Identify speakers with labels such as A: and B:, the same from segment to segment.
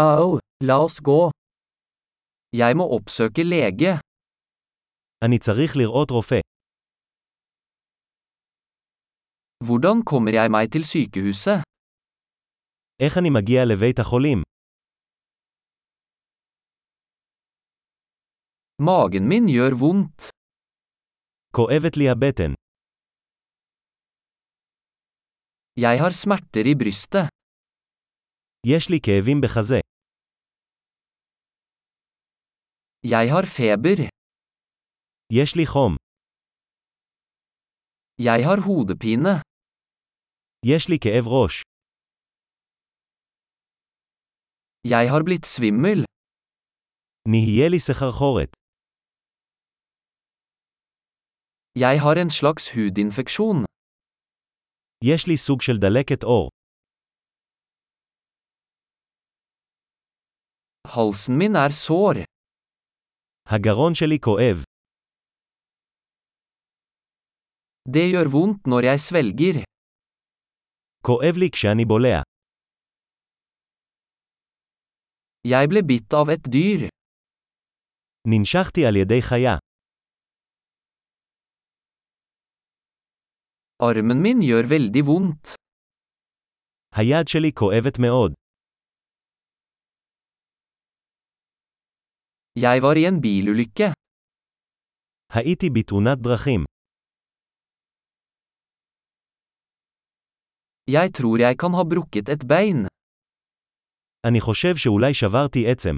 A: Au, la oss gå. Jeg må oppsøke lege.
B: אני צריך לראות רופא.
A: Hvordan kommer jeg meg til sykehuset?
B: איך אני מגיע לבית החולים?
A: Magen min gjør vondt.
B: כואבת לי הבטן.
A: Jeg har smerter i brystet.
B: יש לי כאבים בחזה.
A: Jeg har feber.
B: יש לי חום.
A: Jeg har hodepine.
B: יש לי כאב ראש.
A: Jeg har blitt svimmel.
B: נהיה לי סחרחורת.
A: Jeg har en slags hudinfeksjon.
B: יש לי סוג של דלקת עור.
A: Halsen min er sår.
B: הגרון שלי כואב.
A: Det gjør vondt når jeg svelger.
B: כואב לי כשאני בולע.
A: Jeg ble bitt av et dyr.
B: ננשכתי על ידי חיה.
A: Armen min gjør veldig vondt.
B: היד שלי כואבת מאוד.
A: Jeg var i en bilulykke.
B: הייתי בתאונת דרכים.
A: Jeg tror jeg kan ha brukket et bein.
B: אני חושב שאולי שברתי עצם.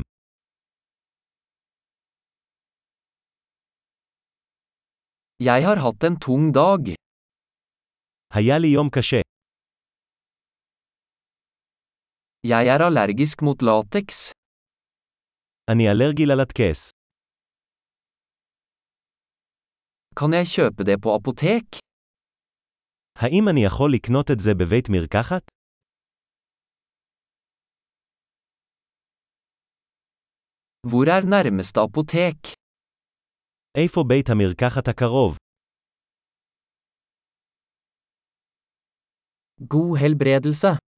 A: Jeg har hatt en tung dag.
B: היה לי יום קשה.
A: Jeg er allergisk mot lateks.
B: אני אלרגי ללטקס.
A: Kan jeg kjøpe det på apotek?
B: האם אני יכול לקנות את זה בבית מרקחת?
A: Hvor er nærmeste apotek?
B: איפה בית המרקחת הקרוב?
A: God helbredelse.